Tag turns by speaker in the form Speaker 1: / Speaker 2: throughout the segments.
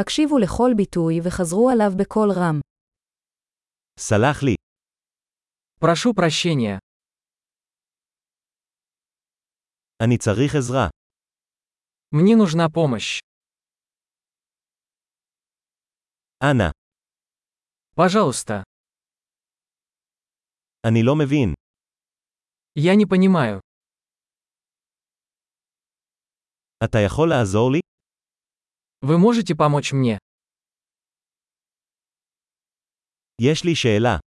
Speaker 1: הקשיבו לכל ביטוי וחזרו עליו בקול רם.
Speaker 2: סלח לי,
Speaker 3: Прошу прощения.
Speaker 2: אני צריך עזרה.
Speaker 3: Мне нужна помощь.
Speaker 2: אנא,
Speaker 3: Пожалуйста.
Speaker 2: אני לא מבין.
Speaker 3: Я не понимаю.
Speaker 2: אתה יכול לעזור לי?
Speaker 3: Вы можете помочь мне?
Speaker 2: יש לי שאלה.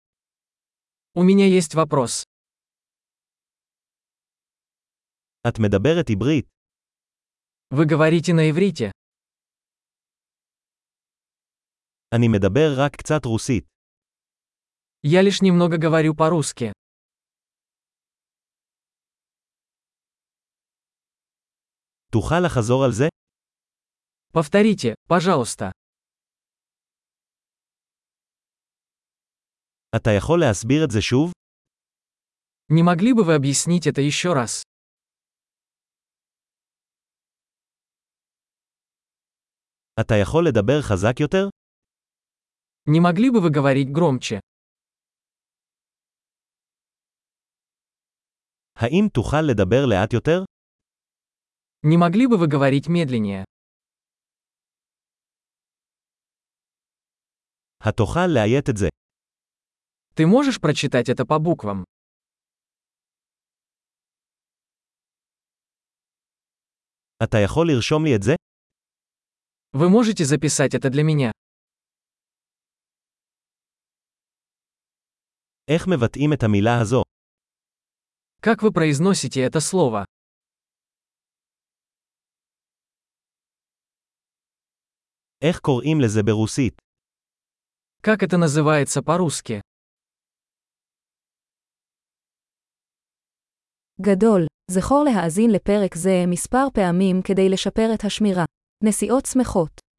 Speaker 3: У меня есть вопрос.
Speaker 2: את מדברת עברית?
Speaker 3: Вы говорите на иврите.
Speaker 2: אני מדבר רק קצת רוסית.
Speaker 3: Я лишь немного говорю по-русски.
Speaker 2: תוכל לחזור על זה?
Speaker 3: Повторите, пожалуйста.
Speaker 2: אתה יכול להסביר את זה שוב?
Speaker 3: Не могли бы вы объяснить это еще раз?
Speaker 2: אתה יכול לדבר חזק יותר?
Speaker 3: Не могли бы вы говорить громче?
Speaker 2: האם תוכל לדבר לאט יותר?
Speaker 3: Не могли бы вы говорить медленнее?
Speaker 2: התוכל לאיית את זה.
Speaker 3: Ты можешь прочитать это по буквам?
Speaker 2: אתה יכול לרשום לי את זה?
Speaker 3: Вы можете записать это для меня?
Speaker 2: איך מבטאים את המילה הזו?
Speaker 3: Как вы произносите это слово?
Speaker 2: איך קוראים לזה ברוסית?
Speaker 3: Как это называется по-русски?
Speaker 1: גדול, זכור להאזין לפרק זה מספר פעמים כדי לשפר את השמירה. נסיעות שמחות